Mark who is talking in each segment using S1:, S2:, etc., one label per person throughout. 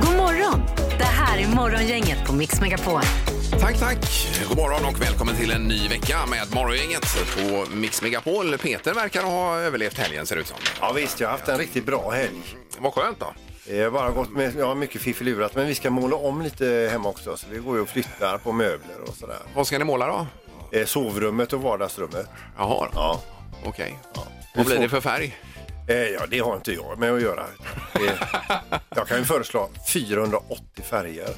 S1: God morgon! Det här är Morgongänget på Mix Megapol.
S2: Tack, tack. God morgon och välkommen till en ny vecka med Morgongänget på Mix Megapol. Peter verkar ha överlevt helgen ser det ut som.
S3: Ja visst, jag har haft en riktigt bra helg. Eh,
S2: Vad skönt då.
S3: Jag har bara gått med, jag har mycket fiffilurat men vi ska måla om lite hemma också så vi går ju och flyttar på möbler och sådär.
S2: Vad ska ni måla då?
S3: Eh, Sovrummet och vardagsrummet.
S2: Jaha,
S3: Ja.
S2: okej. Vad blir det för färg?
S3: Eh, Ja, det har inte jag med att göra. Eh, Jag kan ju föreslå 480 färger.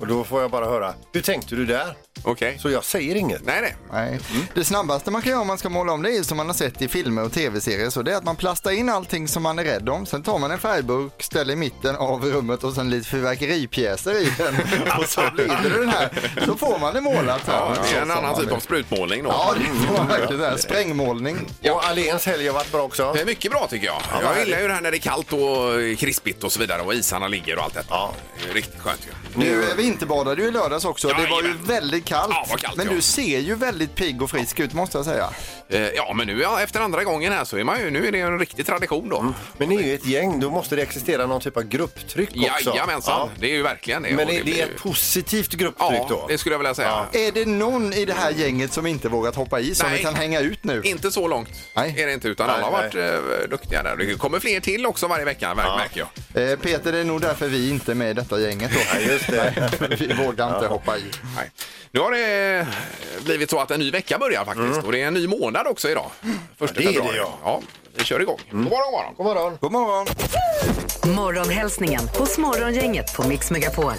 S3: Och då får jag bara höra, hur tänkte du där?
S2: Okej.
S3: Så jag säger inget.
S2: Nej, nej.
S4: Nej. Det snabbaste man kan göra om man ska måla om det är ju som man har sett i filmer och tv-serier så det är att man plastar in allting som man är rädd om. Sen tar man en färgburk, ställer i mitten av rummet och sen lite fyrverkeripjäser i den och så blir det den här. Så får man det målat.
S2: Ja,
S4: Ja,
S2: det
S4: så
S2: är en
S4: får
S2: annan
S4: man
S2: typ
S4: det.
S2: av sprutmålning då.
S4: Ja, det får man verkligen. Det här. Sprängmålning. Eh,
S3: Och Alléns helg har varit bra också.
S2: Det är mycket bra tycker jag.
S3: vad
S2: jag
S3: härligt.
S2: gillar ju det här när det är kallt och krispigt och så vidare och isarna ligger och allt detta.
S3: Ja.
S2: Det är riktigt skönt ju.
S4: Du eh, vinterbadade ju i lördags också. Det var ju
S2: Jajamän.
S4: väldigt kallt.
S2: Ja, vad kallt,
S4: Men
S2: ja.
S4: du ser ju väldigt pigg och frisk ut måste jag säga.
S2: Eh, Ja, men nu ja, efter andra gången här så är man ju, nu är det en riktig tradition
S4: Mm.
S2: då.
S3: Men ni är ju ett gäng, då måste det existera någon typ av grupptryck också.
S2: Jajamensan, det är ju verkligen det.
S3: Men
S2: Och
S3: är det
S2: blir
S3: ett
S2: ju-
S3: positivt grupptryck
S2: Ja,
S3: då?
S2: det skulle jag vilja säga.
S3: Ja.
S4: Är det någon i det här gänget som inte vågat hoppa i som
S2: Nej.
S4: vi kan hänga ut nu?
S2: Inte så långt
S4: Nej.
S2: är det inte, utan
S3: Nej,
S2: alla har varit
S3: nej.
S2: eh, duktiga där. Det kommer fler till också varje vecka, mär- märker jag.
S4: Eh, Peter, det är nog därför vi inte är med i detta gänget då.
S3: Ja, just det.
S4: vi vågar inte hoppa i.
S2: Nej. Nu har det eh, blivit så att en ny vecka börjar faktiskt och det är en ny månad också idag. Första
S3: det är det,
S2: februari.
S3: Mm. ja. Mm.
S2: ja. Vi kör igång. God morgon, god morgon.
S3: God morgon.
S4: God morgon!
S1: Morgonhälsningen hos Morgongänget på Mix Megapol.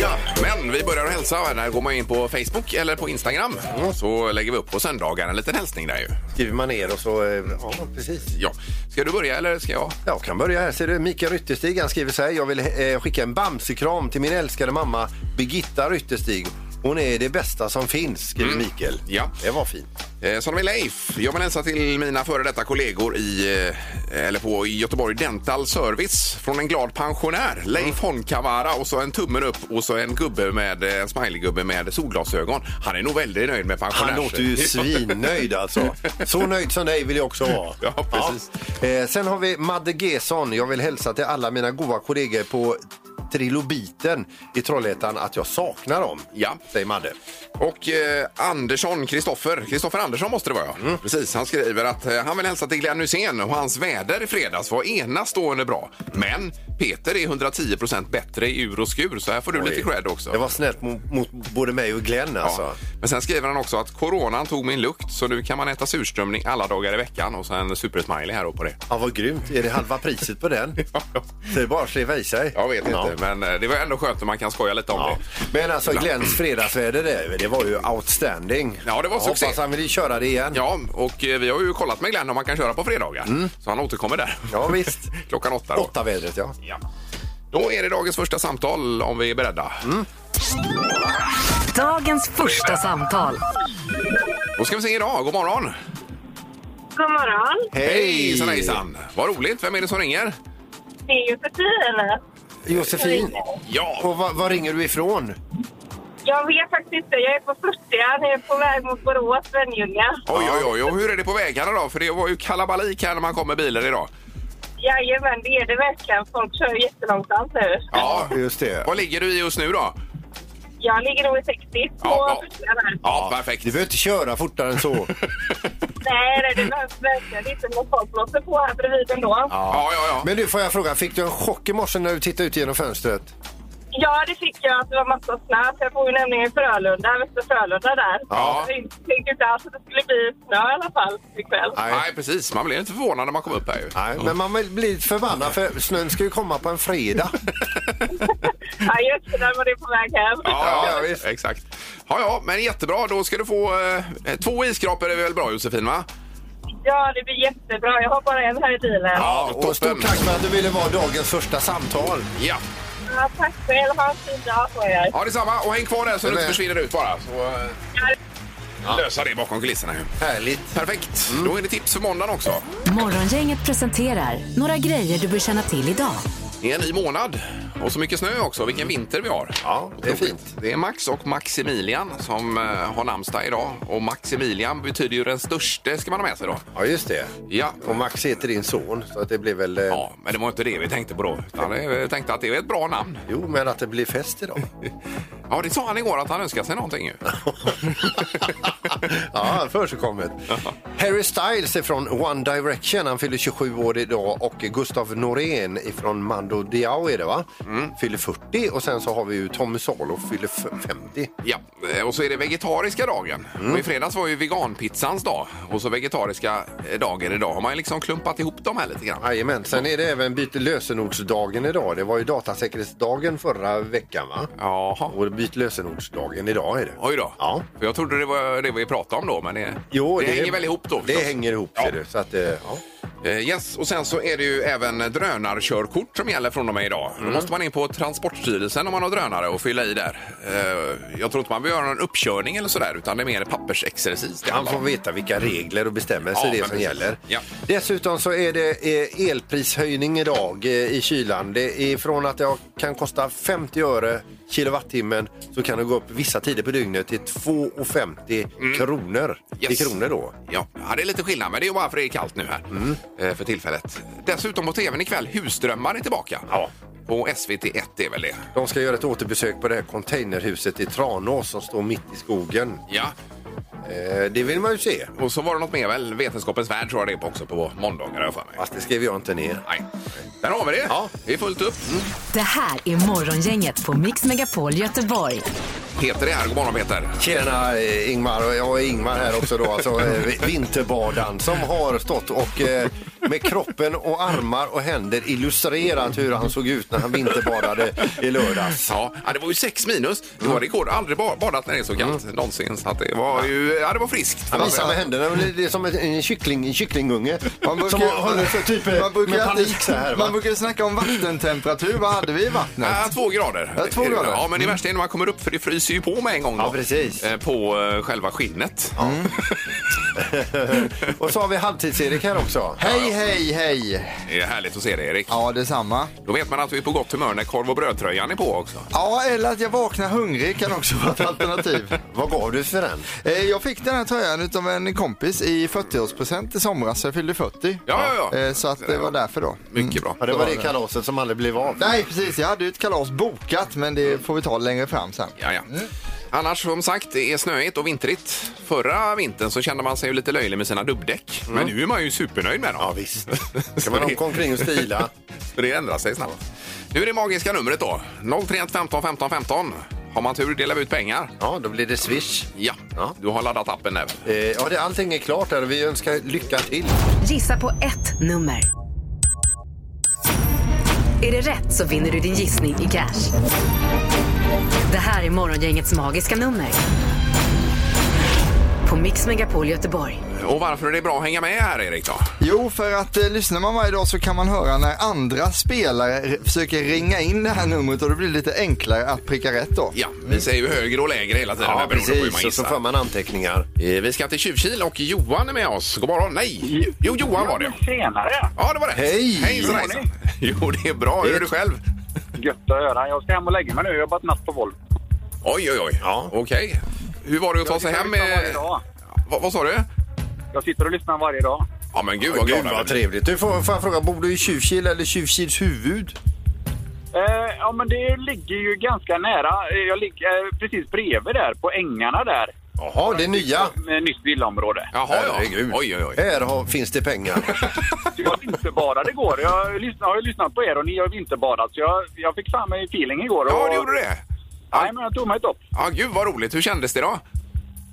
S2: Ja, men vi börjar hälsa. Där går man in på Facebook eller på Instagram.
S3: Mm.
S2: Så lägger vi upp på söndagar en liten hälsning där ju.
S3: Skriver man ner och så... eh, Ja, precis.
S2: Ja. Ska du börja eller ska jag?
S3: Jag kan börja här. Ser du, Mikael Rytterstig han skriver så här. Jag vill eh, skicka en bamsekram till min älskade mamma Birgitta Rytterstig. Hon är det bästa som finns, skriver Mikael.
S2: Mm. Ja.
S3: Det var fint.
S2: Eh, Så har vi Leif. Jag vill hälsa till mina före detta kollegor i, eh, eller på Göteborg Dental Service från en glad pensionär,
S3: Mm.
S2: Leif Honkavara och så en tummen upp och så en gubbe med eh, en smileygubbe med solglasögon. Han är nog väldigt nöjd med pensionärs...
S3: Han låter ju svinnöjd alltså. Så nöjd som dig vill jag också vara.
S2: Ja, precis.
S3: Ja. Eh, sen har vi Madde Gesson. Jag vill hälsa till alla mina goa kollegor på Trilobiten i Trollhättan att jag saknar dem.
S2: Ja.
S3: Säger Madde.
S2: Och eh, Andersson, Kristoffer. Kristoffer Andersson måste det vara, ja.
S3: Mm.
S2: Precis. Han skriver att eh, han vill hälsa till Glenn Hussein och hans väder i fredags var enastående bra. Men Peter är 110 bättre i ur och skur, så här får du lite cred också.
S3: Det var snällt mot, mot både mig och Glenn alltså.
S2: Ja. Men sen skriver han också att coronan tog min lukt så nu kan man äta surströmming alla dagar i veckan och sen supersmiley här och på det.
S3: Ja, vad grymt. Är det halva priset på den? Så det är bara att sleva i sig.
S2: Jag vet
S3: Ja.
S2: inte, men eh, det var ändå skönt att man kan skoja lite om
S3: Ja.
S2: det.
S3: Men alltså Glenns fredagsväder, det, det var ju outstanding.
S2: Ja, det var
S3: Jag
S2: succé.
S3: Hoppas han vill köra det igen.
S2: Ja, och eh, vi har ju kollat med Glenn om man kan köra på fredagar. Så han återkommer där.
S3: Ja, visst.
S2: Klockan åtta då.
S3: Mm. Åtta vädret, ja.
S2: Ja. Då är det dagens första samtal om vi är beredda.
S3: Mm.
S1: Dagens första samtal.
S2: Då ska vi se idag. God morgon!
S5: God morgon.
S2: Hejsan hejsan! Vad roligt. Vem är det som ringer?
S5: Det är Josefin.
S3: Josefin,
S2: Ja,
S3: och var, var ringer du ifrån?
S5: Jag vet faktiskt inte. Jag är på 40. Jag är på väg mot Borås, Svenljunga.
S2: oj oj oj. Och hur är det på vägarna då? För det var ju kalabalik här när man kom med bilen idag.
S5: Jajamän, det är det verkligen. Folk kör ju jättelångsamt nu.
S2: Ja,
S3: Just det.
S2: Vad ligger du i just nu då?
S5: Jag ligger nog i 60 på
S2: Ja, ja.
S5: första där.
S2: Ja, perfekt.
S3: Du behöver inte köra fortare än så.
S5: Nej, nej, det behövs verkligen inte. Men folk blåser på här bredvid ändå. Ja.
S2: Ja, ja, ja.
S3: Men du, får jag fråga, fick du en chock i morse när du tittade ut genom fönstret?
S5: ja, det fick jag. Att det var massa snö. För Jag bor ju nämligen i Frölunda, Västra Frölunda där.
S2: Ja.
S5: Jag tänkte inte alls att det skulle bli snö i alla fall ikväll.
S3: Nej.
S2: Nej, precis. Man blev inte förvånad när man kom upp här ju.
S3: Nej, men man vill bli lite förbannad för snön ska ju komma på en fredag.
S5: Ja, just det. Där var det på väg hem.
S2: Ja, ja,
S3: Ja,
S2: visst.
S3: visst.
S2: Exakt. Ja, ja, men jättebra. Då ska du få eh, två iskrapor är väl bra Josefin, va?
S5: Ja, det blir jättebra. Jag har bara en här i bilen.
S2: Ja,
S3: Och stort tack för att du ville vara dagens första samtal.
S2: Ja,
S5: Ja, tack själv. Ha en fin dag på er.
S2: Ja, detsamma. Och häng kvar där så du
S3: Eller-
S2: inte försvinner ut bara. Så, eh, Lösa det bakom kulisserna. ju.
S3: Härligt. Mm.
S2: Perfekt. Då är det tips för måndagen också.
S1: Morgongänget presenterar några grejer du bör känna till idag.
S2: Det är en ny månad och så mycket snö också. Vilken vinter vi har.
S3: Mm. Ja, det är
S2: Otroligt.
S3: fint.
S2: Det är Max och Maximilian som eh, har namnsdag idag. Och Maximilian betyder ju den störste ska man ha med sig då.
S3: Ja, just det.
S2: Ja.
S3: Och Max heter din son, så att det blir väl... eh,
S2: Ja, men det var inte det vi tänkte på då. Utan det- vi tänkte att det är ett bra namn.
S3: Jo, men att det blir fest idag.
S2: Ja, det sa han igår att han önskar sig någonting ju.
S3: ja, försigkommet. Harry Styles är från One Direction. Han fyller 27 år idag och Gustav Norén från Mando Diao är det va?
S2: Mm.
S3: Fyller 40 och sen så har vi ju Tommy Salo fyller f- 50.
S2: Ja, eh, och så är det vegetariska dagen.
S3: Mm.
S2: Och I fredags var ju veganpizzans dag och så vegetariska eh, dagen idag. Har man ju liksom klumpat ihop dem här lite grann.
S3: Jajamän, sen är det även byt lösenordsdagen idag. Det var ju datasäkerhetsdagen förra veckan va?
S2: Jaha.
S3: Och byt lösenordsdagen idag är det.
S2: Oj då.
S3: Ja.
S2: För jag trodde det var det vi pratade om då, men det,
S3: Jo,
S2: det, hänger väl ihop då.
S3: Det
S2: förstås.
S3: hänger ihop
S2: Ja.
S3: ser du. Så att, eh, ja.
S2: Eh, Yes, och sen så är det ju även drönarkörkort som gäller från och med idag.
S3: Mm.
S2: Då måste man in på Transportstyrelsen om man har drönare och fylla i där. Eh, Jag tror inte man behöver göra någon uppkörning eller sådär, utan det är mer pappersexercis. det
S3: Han
S2: handlar
S3: får
S2: om.
S3: veta vilka regler och bestämmelser
S2: Ja,
S3: det är
S2: men
S3: som
S2: precis.
S3: gäller.
S2: Ja.
S3: Dessutom så är det eh, elprishöjning idag eh, i kylan. Det är från att det har- kan kosta 50 öre kilowattimmen så kan det gå upp vissa tider på dygnet till 2,50 kronor.
S2: Mm. Yes.
S3: I kronor då.
S2: Ja, ja, det är lite skillnad, men det är ju bara för det är kallt nu här
S3: Mm.
S2: eh, för tillfället. Dessutom på tvn ikväll, Husdrömmar är tillbaka.
S3: Ja.
S2: Och SVT1 är väl det.
S3: De ska göra ett återbesök på det här containerhuset i Tranås som står mitt i skogen.
S2: Ja,
S3: Eh, det vill man ju se.
S2: och så var det något mer väl, Vetenskapens värld tror jag det är på också på måndagar har jag för mig.
S3: Fast det skrev jag inte ner.
S2: Nej. Där har vi det.
S3: Ja. Mm.
S2: Det är fullt upp.
S1: Det här är Morgongänget på Mix Megapol Göteborg.
S2: Peter är här. God morgon Peter.
S3: Tjena eh, Ingmar, och jag är Ingmar här också då, alltså eh, vi- vinterbadan som har stått och eh, med kroppen och armar och händer illustrerat hur han såg ut när han vinterbadade i lördags.
S2: Ja, ja, det var ju sex minus. Det var rekord. Aldrig ba- badat när det är så kallt någonsin. Så att det var ju, ja det var friskt. Alltså,
S3: Han visar med händerna, Mm. men det är som en- en, kyckling, en kycklingunge
S4: Man brukar,
S3: som håller för typ eh,
S4: man brukar
S3: med
S4: alltid-
S3: panik så här.
S4: Man
S3: Va? Alltså-
S4: brukar ju snacka om vattentemperatur. Vad hade vi i vattnet?
S2: Ja, två grader.
S4: Ja, två grader.
S2: Ja, men det värsta är när man kommer upp för det fryser ju på med en gång. Då,
S3: Mm. Ja, precis.
S2: Eh, På eh, själva skinnet. Mm.
S3: Och så har vi halvtids-Erik här också.
S4: Hej, hej, hej!
S2: Det är härligt att se dig Erik.
S4: Ja, detsamma.
S2: Då vet man att du är på gott humör när korv och brödtröjan är på också.
S4: Ja, eller att jag vaknar hungrig kan också vara ett alternativ.
S3: Vad gav du för den?
S4: Eh, Jag fick den här tröjan utav en kompis i 40-årspresent i somras, så jag fyllde 40.
S2: Ja, ja, ja.
S4: Eh, Så att det var därför då.
S2: Mycket bra.
S3: Ja, det var det kalaset som aldrig blev av.
S4: Nej, precis. Jag hade ju ett kalas bokat, men det får vi ta längre fram sen.
S2: Ja, ja.
S3: Mm.
S2: Annars som sagt, det är snöigt och vintrigt. Förra vintern så kände man sig ju lite löjlig med sina dubbdäck. Men nu är man ju supernöjd med dem.
S3: Mm. Ja, visst. Ska man åka omkring och stila?
S2: För det ändrar sig snabbt. Nu är det magiska numret då. 031 15 15 15. Har man tur delar vi ut pengar.
S3: Ja, då blir det swish.
S2: Ja,
S3: Ja.
S2: du har laddat appen där.
S3: Eh, Ja, det, allting är klart där och vi önskar lycka till.
S1: Gissa på ett nummer. Är det rätt så vinner du din gissning i cash. Det här är Morgongängets magiska nummer. På Mix Megapol Göteborg.
S2: Och varför är det bra att hänga med här Erik då?
S4: Jo, för att eh, lyssnar man varje dag så kan man höra när andra spelare r- försöker ringa in det här numret och det blir lite enklare att pricka rätt då.
S2: Ja, vi säger ju högre och lägre hela tiden. här beroende på hur man
S3: Och så
S2: gissar.
S3: får man anteckningar.
S2: Eh, Vi ska till Tjuvkil och Johan är med oss. God morgon. Nej, jo Johan var det.
S6: Tjenare!
S2: Ja, det var det.
S3: Hej!
S2: Hejsan,
S6: Hur mår
S2: hejsan. Jo, det är bra. Hur är du själv?
S6: Gött att höra. Jag ska hem och lägga mig nu. Jag har jobbat natt på Volvo.
S2: Oj, oj, oj. Ja. Okej. Hur var det att ta
S6: Jag
S2: sig
S6: sitter och
S2: hem?
S6: lyssnar
S2: eh,
S6: varje dag.
S2: Vad, vad sa du?
S6: Jag sitter och lyssnar varje dag.
S2: Ja, men gud vad
S3: Gud
S2: glad jag
S3: vad
S2: blev.
S3: trevligt. Du får, får jag fråga, bor du i Tjuvkil eller Tjuvkils huvud?
S6: Eh, ja, men det ligger ju ganska nära. Eh, Jag ligger eh, precis bredvid där, på ängarna där.
S3: Jaha, det är nya.
S6: Med nytt villaområde.
S2: Jaha, ja.
S3: Herregud.
S2: Oj, oj, oj.
S3: Här har, finns det pengar.
S6: Jag vinterbadade igår. Jag lyssnar, har ju lyssnat på er och ni har vinterbadat. Så jag, jag fick fan mig feeling igår. Och,
S2: Ja, det gjorde det.
S6: Nej, men jag tog mig ett dopp.
S2: Ja, gud vad roligt. Hur kändes det då?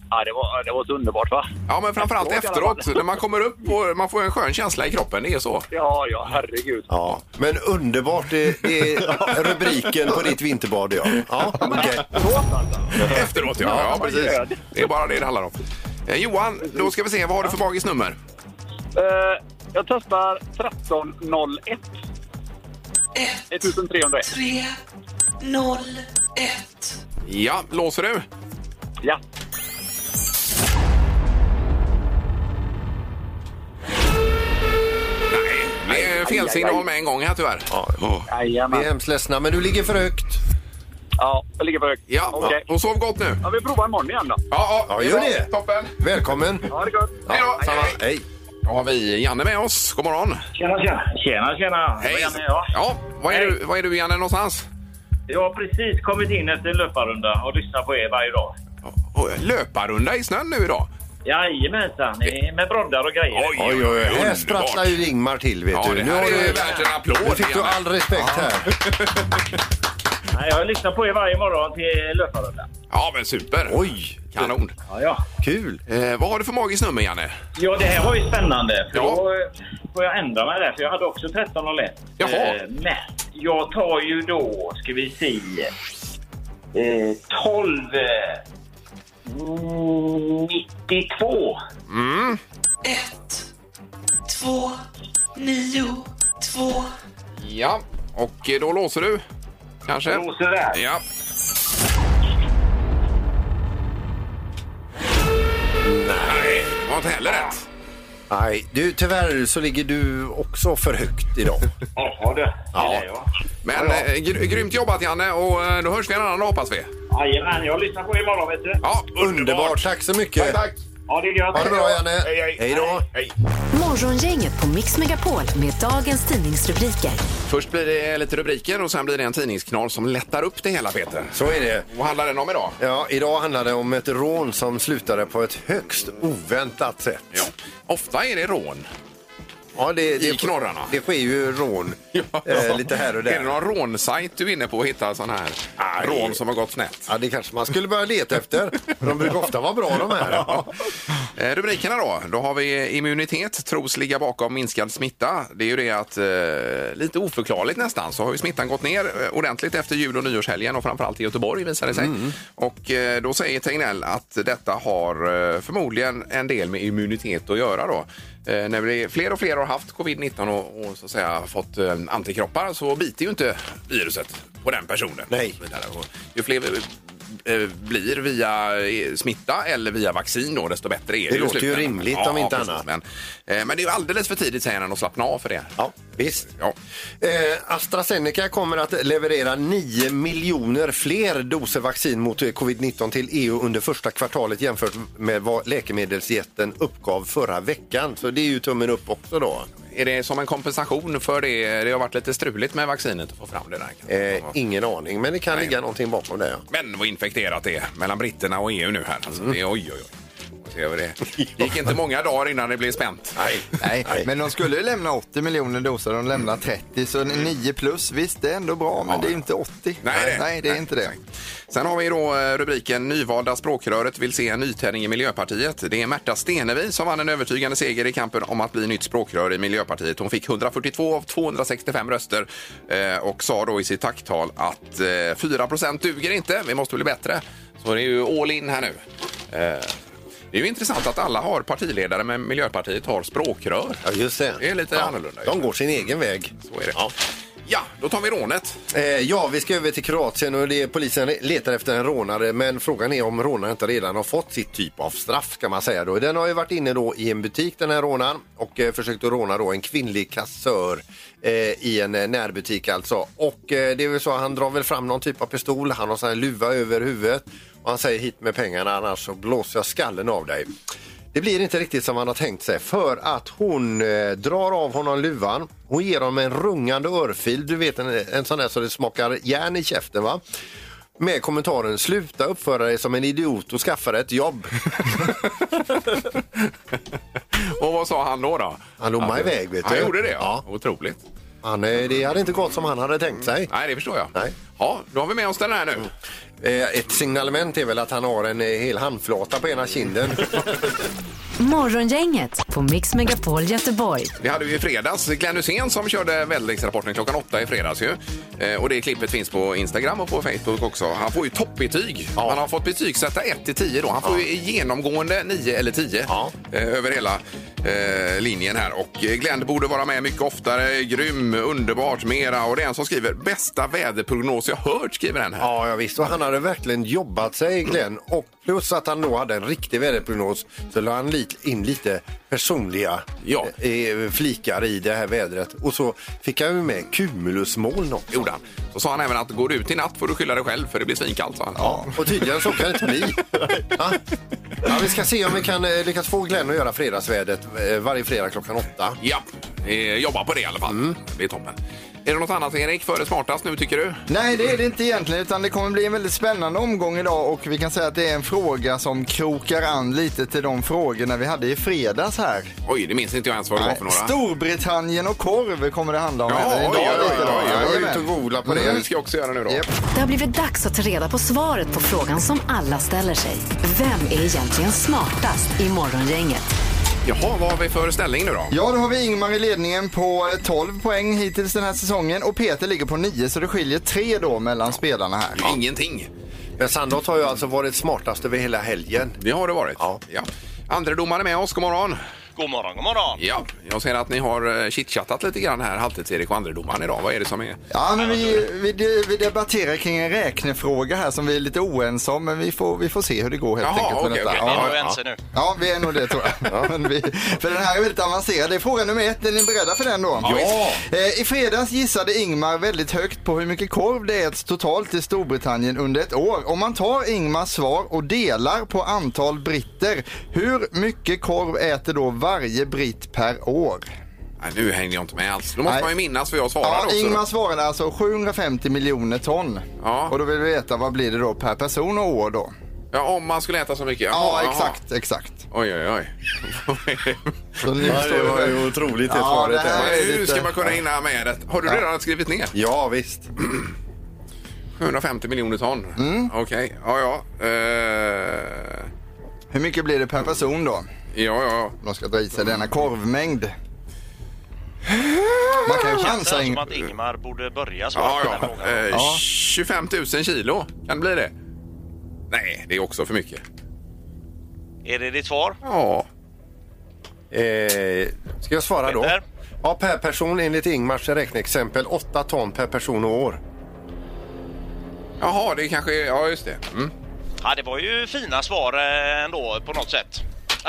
S6: Ja, det var, det var så underbart, va?
S2: Ja, men framförallt
S6: Efteråt i alla
S2: efteråt.
S6: fall.
S2: När man kommer upp och man får en skön känsla i kroppen. Det är så.
S6: Ja, ja, herregud.
S3: Ja, men underbart det, det är rubriken på ditt vinterbad. Ja, ja okej.
S6: Förlåt, alltså.
S2: Efteråt, ja. ja
S6: man
S2: precis.
S6: gör det.
S2: Det är bara det det handlar om. Eh, Johan, då ska vi se. Vad har du för magiskt nummer?
S6: Eh, jag testar 1301. 1301.
S7: 3, 0, 1.
S2: Ja, låser du?
S6: Ja.
S2: Det är fel
S6: aj,
S2: signal
S6: aj.
S2: med en gång här tyvärr. Ja,
S3: Vi är
S6: Jajamän.
S3: hemskt ledsna, men du ligger för högt.
S6: Ja, jag ligger på hög.
S2: ja.
S6: Okej.
S2: och sov gott nu.
S6: Ja, vi provar imorgon igen då.
S2: Ja,
S3: Ja, gör
S2: bra.
S3: det.
S2: Toppen.
S3: Välkommen!
S6: Ha det gott.
S2: Hej då.
S3: samma.
S2: Hej,
S3: Hej.
S2: Då har vi Janne med oss. God morgon.
S8: Tjena, tjena. Tjena, tjena. Det var Janne jag.
S2: Ja, var är,
S8: Hej.
S2: du, var är du Janne någonstans?
S8: Jag har precis kommit in efter en löparrunda och lyssnar på er varje dag.
S2: Oh, Löparrunda i snön nu idag.
S8: Jajamensan, ni är med broddar och grejer.
S3: Oj, oj, oj. Här
S2: underbart.
S3: sprattlar ju Ingmar till, vet
S2: Ja,
S3: du.
S2: det här är
S3: har
S2: ju
S3: du-
S2: värt en applåd.
S3: Nu fick du
S2: Janne.
S3: all respekt här.
S8: Nej, jag lyssnar på er varje morgon till löparrunda.
S2: Ja, men super.
S3: Oj,
S2: Kanon.
S8: Ja, ja.
S3: kul!
S2: Eh, vad har du för magiskt nummer, Janne?
S8: ja, det här var ju spännande. För
S2: Ja.
S8: Då eh, får jag ändra mig där, för jag hade också 13 och lätt.
S2: Jaha.
S8: Eh, Men jag tar ju då, ska vi se, eh, 12... Eh, 92.
S7: 1, 2, 9, 2.
S2: Ja, och eh, då låser du kanske?
S8: Rosen där.
S2: Ja. Nej, det var inte heller rätt.
S3: Nej, du, tyvärr så ligger du också för högt idag.
S8: Ja, du.
S2: Ja.
S8: Ja.
S2: Men eh, gr- grymt jobbat Janne och eh, då hörs vi en annan dag hoppas vi.
S8: Jajamän, jag lyssnar på er imorgon, vet du.
S2: Ja,
S3: Underbart, tack så mycket!
S8: Ja, det är gött.
S3: Ha det bra, Janne!
S2: Hej, hej.
S3: Hej då!
S1: Morgongänget på Mix Megapol med dagens tidningsrubriker.
S2: Först blir det lite rubriker och sen blir det en tidningsknorr som lättar upp det hela Peter.
S3: Så är det.
S2: Vad handlar den om idag?
S3: Ja, idag handlar det om ett rån som slutade på ett högst oväntat sätt.
S2: Ja. Ofta är det rån.
S3: Ja, det,
S2: I knorrarna.
S3: Det sker ju rån eh, lite här och
S2: Är det
S3: där.
S2: någon rånsajt du är inne på att hitta sån här
S3: Nej.
S2: rån som har gått snett?
S3: Ja, det kanske man skulle börja leta efter. De brukar ofta vara bra de här.
S2: Eh, Rubrikerna då. Då har vi immunitet tros ligga bakom minskad smitta. Det är ju det att eh, lite oförklarligt nästan så har ju smittan gått ner eh, ordentligt efter jul och nyårshelgen och framförallt i Göteborg visar det sig. Och eh, då säger Tegnell att detta har eh, förmodligen en del med immunitet att göra då. Eh, när vi fler och fler har haft covid-19 och, och så att säga fått eh, antikroppar så biter ju inte viruset på den personen.
S3: Nej.
S2: Och så vidare. Och Ju fler eh, blir via eh, smitta eller via vaccin då, desto bättre är det.
S3: Det
S2: i
S3: låter ju
S2: slutändan.
S3: rimligt om inte annat.
S2: Men, eh, men det är ju alldeles för tidigt säger han att slappna av för det.
S3: Ja, visst.
S2: Ja.
S3: Eh, AstraZeneca kommer att leverera 9 miljoner fler doser vaccin mot eh, covid-19 till EU under första kvartalet jämfört med vad läkemedelsjätten uppgav förra veckan. Så det är ju tummen upp också då.
S2: Är det som en kompensation för det? Det har varit lite struligt med vaccinet att få fram det där. kanske.
S3: Eh, ingen aning, men det kan
S2: Nej.
S3: ligga någonting bakom det. ja.
S2: Men vad infekterat det är mellan britterna och EU nu här. Alltså, det är, oj, oj, oj. Får se över Det Det gick inte många dagar innan det blev spänt. Nej.
S4: Nej, men de skulle ju lämna 80 miljoner doser, de lämnar 30, så 9 plus, visst det är ändå bra, men det är ju inte 80.
S2: Nej,
S4: Nej det är
S2: nej,
S4: inte det.
S2: Sen har vi då eh, rubriken Nyvalda språkröret vill se en nytändning i Miljöpartiet. Det är Märta Stenevi som vann en övertygande seger i kampen om att bli nytt språkrör i Miljöpartiet. Hon fick 142 av 265 röster eh, och sa då i sitt tacktal att eh, 4 duger inte, vi måste bli bättre. Så det är ju all in här nu. Eh, Det är ju intressant att alla har partiledare men Miljöpartiet har språkrör.
S3: Ja, just det.
S2: Det är lite
S3: ja,
S2: annorlunda.
S3: De går sin egen väg.
S2: Så är det.
S3: Ja.
S2: Ja, då tar vi rånet.
S3: Eh, ja, vi ska över till Kroatien och det är polisen letar efter en rånare men frågan är om rånaren inte redan har fått sitt typ av straff ska man säga då. Den har ju varit inne då i en butik den här rånaren och eh, försökt att råna då en kvinnlig kassör eh, i en eh, närbutik alltså. Och eh, det är väl så han drar väl fram någon typ av pistol, han har sån här luva över huvudet och han säger hit med pengarna annars så blåser jag skallen av dig. Det blir inte riktigt som han har tänkt sig för att hon eh, drar av honom luvan. Hon ger honom en rungande örfil, du vet en, en sån där så det smakar järn i käften va? Med kommentaren sluta uppföra dig som en idiot och skaffa dig ett jobb.
S2: Och vad sa han då? då?
S3: Han lommade
S2: Att-
S3: iväg, vet
S2: Han
S3: du.
S2: gjorde det?
S3: Ja.
S2: Otroligt.
S3: Han, eh, det hade inte gått som han hade tänkt sig.
S2: Nej, det förstår jag.
S3: Nej.
S2: Ja, då har vi med oss den här nu.
S3: Eh, Ett signalement är väl att han har en eh, hel handflata på ena kinden.
S1: Morgongänget på Mix Megapol Göteborg.
S2: Vi hade ju i fredags Glenn Hussein som körde väderleksrapporten klockan åtta i fredags ju. Eh, och det klippet finns på Instagram och på Facebook också. Han får ju toppbetyg. Han har fått betygsätta 1 till 10 då. Han får ju genomgående 9 eller 10
S3: Ja.
S2: eh, över hela eh, linjen här. Och eh, Glenn borde vara med mycket oftare. Grym, underbart, mera. Och det är en som skriver bästa väderprognos jag hört skriver den här.
S3: Ja, ja visst. Och han hade verkligen jobbat sig, Glenn. Och plus att han då hade en riktig väderprognos så la han li- in lite personliga
S2: Ja.
S3: eh, flikar i det här vädret. Och så fick han ju med cumulusmoln också.
S2: Gjorde han. Så sa han även att går du ut i natt får du skylla dig själv för det blir svinkallt sa han.
S3: Ja, och tydligen så kan det inte bli. Ja. Ja, vi ska se om vi kan eh, lyckas få Glenn att göra fredagsvädret eh, varje fredag klockan åtta.
S2: Ja, eh, jobba på det i alla fall.
S4: Mm.
S2: Det är toppen. Är det något annat Erik före smartast nu tycker du?
S4: Nej, det är det inte egentligen, utan det kommer bli en väldigt spännande omgång idag och vi kan säga att det är en fråga som krokar an lite till de frågorna vi hade i fredags här.
S2: Oj, det minns inte jag ens vad det var för några.
S4: Storbritannien och korv kommer det handla om.
S2: Ja,
S4: även idag
S2: oj, oj,
S4: lite då.
S2: oj, oj,
S3: Jag var
S4: Jajamän.
S3: ute och googla på
S2: Det
S3: det.
S2: ska jag också göra nu då.
S4: Japp.
S1: Det har blivit dags att ta reda på svaret på frågan som alla ställer sig. Vem är egentligen smartast i Morgongänget?
S2: Jaha, vad har vi för ställning nu då?
S4: Ja, då har vi Ingmar i ledningen på eh, 12 poäng hittills den här säsongen och Peter ligger på 9 så det skiljer 3 då mellan spelarna här.
S2: Ingenting.
S3: Men Sandholt har ju alltså varit smartast över hela helgen.
S2: Det har det varit.
S3: Ja.
S2: Andre domare med oss, god morgon.
S8: God morgon, god morgon.
S2: Ja, jag ser att ni har eh, chitchattat lite grann här, halvtids-Erik och andre domaren idag. Vad är det som är?
S4: Ja, men vi, vi, vi debatterar kring en räknefråga här som vi är lite oense om men vi får, vi får se hur det går helt
S2: Jaha,
S4: enkelt. med
S2: okej,
S4: detta.
S2: okej.
S4: Ja.
S2: Ni är
S8: oense nu.
S4: Ja, vi är nog det tror jag. Men vi, för den här är väldigt avancerad. Det är fråga nummer ett. Är ni beredda för den då?
S2: Ja.
S4: Eh, I fredags gissade Ingmar väldigt högt på hur mycket korv det äts totalt i Storbritannien under ett år. Om man tar Ingmars svar och delar på antal britter, hur mycket korv äter då varje britt per år?
S2: Nej, nu hänger jag inte med alls. Då måste
S4: Nej.
S2: man ju minnas vad jag svarade
S4: Ja,
S2: också.
S4: Ingmar svarade alltså 750 miljoner ton.
S2: Ja.
S4: Och då vill vi veta vad blir det då per person och år då?
S2: Ja, om man skulle äta så mycket.
S4: Ja,
S2: Jaha, jaha.
S4: exakt, exakt.
S2: Oj, oj, oj.
S4: Så nu
S3: Ja,
S4: står
S3: det var
S4: det-
S3: ju otroligt det
S4: Ja,
S3: svaret.
S4: det här
S3: här.
S4: är
S2: Hur
S4: lite-
S2: ska man kunna hinna med det? Har du redan skrivit ner?
S3: Ja, visst.
S2: 750 miljoner ton.
S3: Mm.
S2: Okej, ja, ja. Eh,
S4: Hur mycket blir det per person då?
S2: ja, ja.
S4: De ska dra i sig denna korvmängd. Man kan ju chansa.
S8: som
S4: Ingmar.
S8: att Ingmar borde börja svara på
S2: Ja,
S8: den här
S2: ja.
S8: frågan.
S2: Eh,
S4: Ja.
S2: 25 000 kilo, kan det bli det? Nej, det är också för mycket.
S8: Är det ditt svar?
S2: Ja,
S3: Eh, ska jag svara då?
S8: Peter?
S3: Ja, per person enligt Ingmars räkneexempel 8 ton per person och år.
S2: jaha, det kanske är... Ja, just det. Mm.
S8: Ja, det var ju fina svar eh, ändå på något sätt.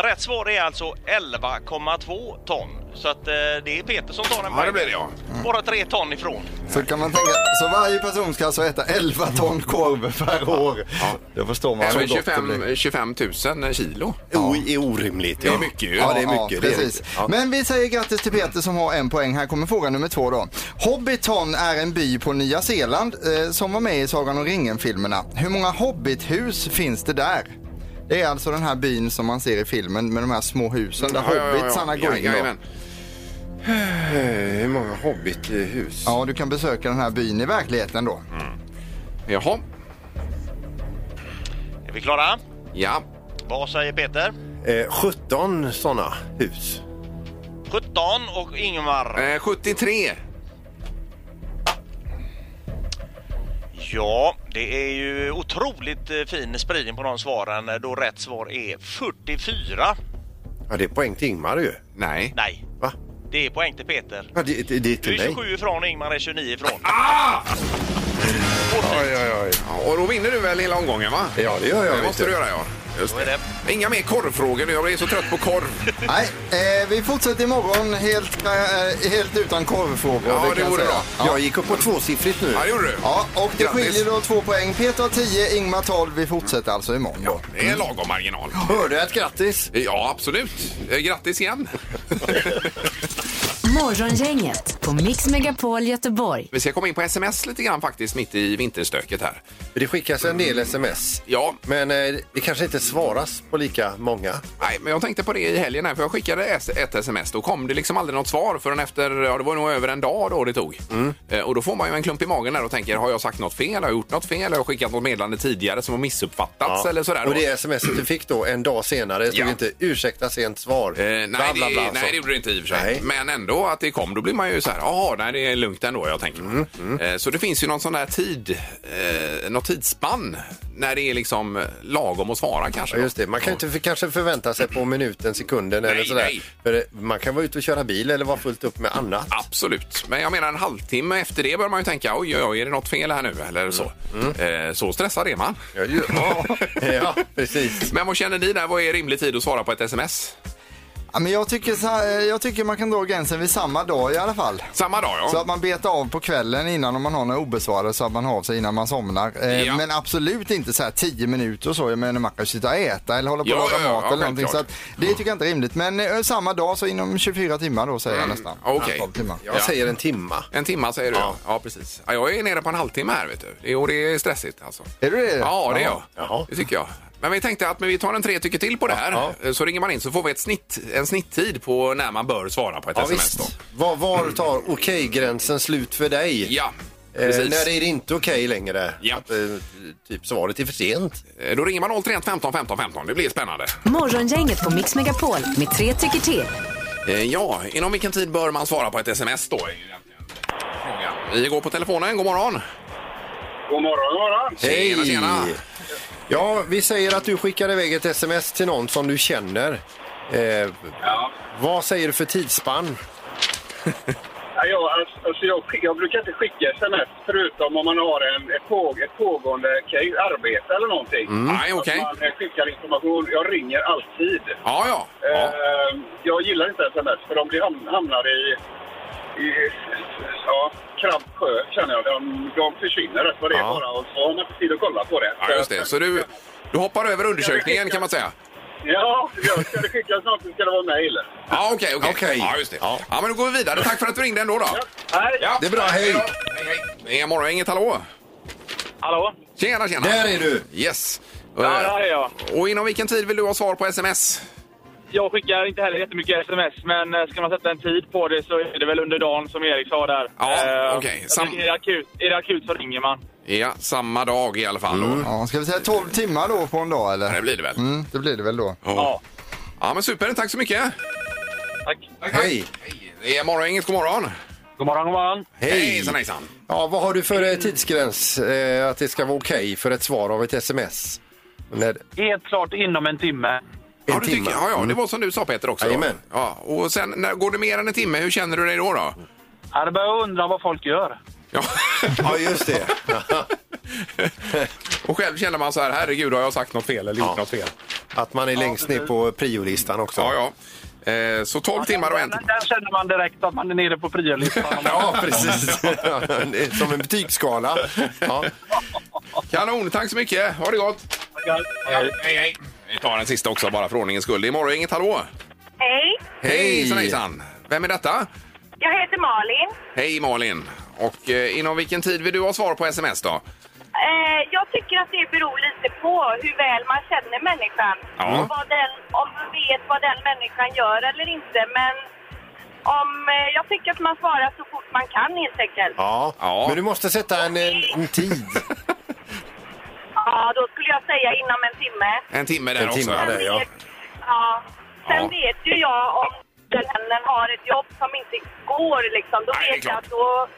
S8: Rätt svar är alltså 11,2 ton. Så att eh, det är Peter som tar den
S2: Ja, det blir det, ja.
S8: Bara tre ton ifrån.
S4: Så kan man tänka, så varje person ska alltså äta 11 ton korv per år. Då förstår man
S2: Även
S4: hur gott det blir.
S2: 25, 25 000 kilo.
S3: Ja. är orimligt.
S2: Det är mycket ju.
S3: Ja, det är mycket. det är
S4: precis.
S3: riktigt. Ja.
S4: Men vi säger grattis till Peter som har en poäng. Här kommer fråga nummer två då. Hobbiton är en by på Nya Zeeland eh, som var med i Sagan om ringen-filmerna. Hur många hobbithus finns det där? Det är alltså den här byn som man ser i filmen med de här små husen där hobbitsarna går in. då.
S2: Jajamän.
S3: Eh, Hur många hobbithus?
S4: Ja, du kan besöka den här byn i verkligheten då.
S2: Jaha,
S8: Är vi klara?
S2: ja.
S8: Vad säger Peter?
S3: Eh, 17 sådana hus.
S8: 17 och Ingmar.
S2: Eh, 73.
S8: Ja, det är ju otroligt eh, fin spridning på de svaren eh, då rätt svar är 44.
S3: Ja, det är poäng till Ingmar ju.
S2: Nej.
S8: Nej,
S3: Va?
S8: det är poäng till Peter.
S3: Ja, det, det, det
S8: Du
S3: är till
S8: är
S3: dig.
S8: 27 ifrån och Ingmar är 29 ifrån.
S3: Oj, oj, oj.
S2: Ja, och då vinner du väl hela omgången, va?
S3: Ja, det gör jag.
S2: Det
S3: vet
S2: måste du göra, ja. Just
S8: Då är
S2: det. Inga mer korvfrågor nu. Jag är så trött på korv.
S4: Nej, eh, vi fortsätter imorgon helt, eh, helt utan korvfrågor.
S2: Ja, det
S4: kan jag
S2: vore
S4: säga.
S2: bra.
S3: Jag gick upp på tvåsiffrigt nu.
S2: Ja, det gjorde du.
S4: Ja, och det
S2: Grattis.
S4: skiljer då två poäng. Peter har 10, Ingmar 12. Vi fortsätter alltså imorgon.
S2: Ja, det är lagom marginal.
S3: Hörde jag ett grattis?
S2: Ja, absolut. Eh, Grattis igen.
S1: Morgongänget på Mix Megapol Göteborg.
S2: Vi ska komma in på sms lite grann faktiskt mitt i vinterstöket här.
S3: Det skickas en del sms.
S2: Ja,
S3: Men eh, det kanske inte svaras på lika många.
S2: nej, men jag tänkte på det i helgen här för jag skickade es- ett sms. Då kom det liksom aldrig något svar förrän efter, ja det var nog över en dag då det tog.
S3: Mm.
S2: Eh, Och då får man ju en klump i magen där och tänker, har jag sagt något fel? Har jag gjort något fel? Har jag skickat något meddelande tidigare som har missuppfattats eller sådär?
S3: Och
S2: då?
S3: det sms du fick då en dag senare stod
S2: Ja.
S3: inte ursäkta sent svar.
S2: Eh, nej,
S3: Bla, bla, bla,
S2: det, nej,
S3: så.
S2: det gjorde det inte i och för sig.
S3: Nej.
S2: Men ändå att det kom, då blir man ju så här, jaha, nej, det är lugnt ändå, jag tänker.
S3: Mm,
S2: Eh, så det finns ju någon sån där tid, eh, något tidsspann när det är liksom eh, lagom att svara kanske.
S3: Ja, just det. Man kan ju inte för, kanske förvänta sig på minuten, sekunden eller
S2: Nej,
S3: sådär.
S2: nej.
S3: För eh, man kan vara ute och köra bil eller vara fullt upp med annat.
S2: Absolut, men jag menar en halvtimme efter det bör man ju tänka, oj, oj, oj är det något fel här nu eller så. Eh, så stressad är man.
S3: Mm, Ja, ju- ja, precis.
S2: Men vad känner ni där, vad är rimlig tid att svara på ett sms?
S4: Ja, men jag, tycker så här, eh, jag tycker man kan dra gränsen vid samma dag i alla fall.
S2: Samma dag ja.
S4: Så att man betar av på kvällen innan om man har några obesvarade så att man har av sig innan man somnar. Eh,
S2: Ja.
S4: Men absolut inte så här 10 minuter och så. Jag menar man kan ju sitta och äta eller hålla på
S2: Ja,
S4: och laga
S2: ja, ja,
S4: mat
S2: ja,
S4: eller någonting. Så
S2: självklart.
S4: att, det tycker jag inte är rimligt. Men eh, samma dag så inom 24 timmar då säger jag nästan.
S2: Mm, okej.
S4: 12 timmar.
S3: Jag säger en timma.
S2: En timma säger du ja.
S3: Ja.
S2: Ja, precis. Ja, jag är nere på en halvtimme här vet du. Jo, det är stressigt alltså.
S4: Är du det?
S2: Ja, det är jag.
S4: Ja.
S3: Jaha.
S2: Det tycker jag. Men vi tänkte att men vi tar en tre tycker till på det här. Eh, Så ringer man in så får vi ett snitt, en snitttid på när man bör svara på ett
S3: Ja,
S2: sms.
S3: visst.
S2: Då.
S3: Var, var tar okej-gränsen slut för dig?
S2: Ja,
S3: Eh,
S2: precis.
S3: när är det inte okej längre?
S2: Ja.
S3: Att, eh, typ svaret är för sent.
S2: Eh, Då ringer man 031 15 15 15. Det blir spännande.
S1: Morgongänget på Mix Megapol med tre tycker till.
S2: Eh, Ja, inom vilken tid bör man svara på ett sms då? är ju egentligen frågan. Vi går på telefonen. God morgon!
S9: God morgon, god morgon.
S2: Tjena, tjena.
S3: Ja, vi säger att du skickar iväg ett sms till någon som du känner. Eh,
S9: Ja.
S3: vad säger du för tidsspann?
S9: Ja, jag, alltså jag, skick- jag brukar inte skicka sms förutom om man har en, ett, påg, ett pågående case, arbete eller någonting.
S2: Mm. Nej, okej.
S9: Att man eh, skickar information. Jag ringer alltid.
S2: Ja, ja. ja.
S9: Eh, jag gillar inte sms för de blir ham- hamnar i, i ja, kramp sjö känner jag. De, de försvinner rätt vad det är
S3: Ja.
S9: bara och så har man inte tid att kolla på det.
S2: ja just det. Så du, du hoppar över undersökningen kan man säga.
S9: Ja, jag ska det skickas något så ska det vara mejl.
S2: Ja, okej, okej.
S3: Okej.
S2: Ja, just det. Ja.
S3: Ja.
S2: men då går vi vidare. Tack för att du ringde ändå då.
S9: Nej.
S2: Ja.
S3: Det är bra, hej.
S2: då. hej, hej. Det är Morgongänget, hallå!
S9: Hallå?
S2: Tjena, tjena!
S3: Där är du.
S2: Yes! Eh,
S9: Ja, där är jag.
S2: Och inom vilken tid vill du ha svar på sms?
S9: Jag skickar inte heller jättemycket sms, men eh, ska man sätta en tid på det så är det väl under dagen som Erik sa där.
S2: Ja,
S9: Eh,
S2: okej.
S9: jag
S2: Sam-
S9: tycker Är, det akut, är det akut så ringer man.
S2: Ja, samma dag i alla fall.
S3: Mm.
S2: då.
S4: Ja, ska vi säga 12 timmar då på en dag eller?
S2: Det blir det väl.
S4: Mm, det blir det väl då.
S2: Ja.
S9: Ja.
S2: ja, men super. Tack så mycket.
S9: Tack.
S3: Hej.
S2: Hej. Det är Morgongänget, god morgon.
S9: God morgon, god morgon.
S2: Hej. Hejsan, hejsan.
S3: Ja, vad har du för eh, tidsgräns? Eh, att det ska vara okej för ett svar av ett sms? När,
S9: Helt klart inom en timme.
S2: Ja,
S3: En
S2: du tycker,
S3: timme. Mm.
S2: ja, ja, det var som du sa Peter också. då.
S3: Jajamän.
S2: Ja, och sen, när, går det mer än en timme, hur känner du dig då? då?
S9: Jag hade börjat undra vad folk gör.
S2: Ja.
S3: ja, just det.
S2: och själv känner man så här, herregud, har jag sagt något fel eller gjort något fel?
S3: Att man är längst ner på priolistan också.
S2: Ja, ja. Eh, så 12 timmar och en
S9: Där, där känner man direkt att man är nere på priolistan.
S3: Ja, precis. Det är Som en betygsskala. Ja.
S2: Kanon, tack så mycket. Ha det gott.
S9: Hej.
S2: Hej, hej. Vi tar den sista också bara för ordningens skull. Det är morgon, inget hallå.
S10: Hej,
S2: Hej, hejsan, hejsan. Vem är detta?
S10: jag heter Malin.
S2: Hej Malin. Och eh, inom vilken tid vill du ha svar på sms då?
S10: Eh, jag tycker att det beror lite på hur väl man känner människan.
S2: Ja.
S10: Och vad den, om man vet vad den människan gör eller inte. Men om, eh, jag tycker att man svarar så fort man kan helt enkelt. Ja.
S3: Ja.
S2: Ja.
S3: men du måste sätta en, en, en tid.
S10: då skulle jag säga inom en timme.
S2: En timme där
S3: En
S2: också.
S3: timme där, ja.
S10: vet, ja. Sen
S2: Ja.
S10: vet ju jag om den mannen har ett jobb som inte går liksom. Då
S2: Nej, det är
S10: vet jag
S2: klart.
S10: att då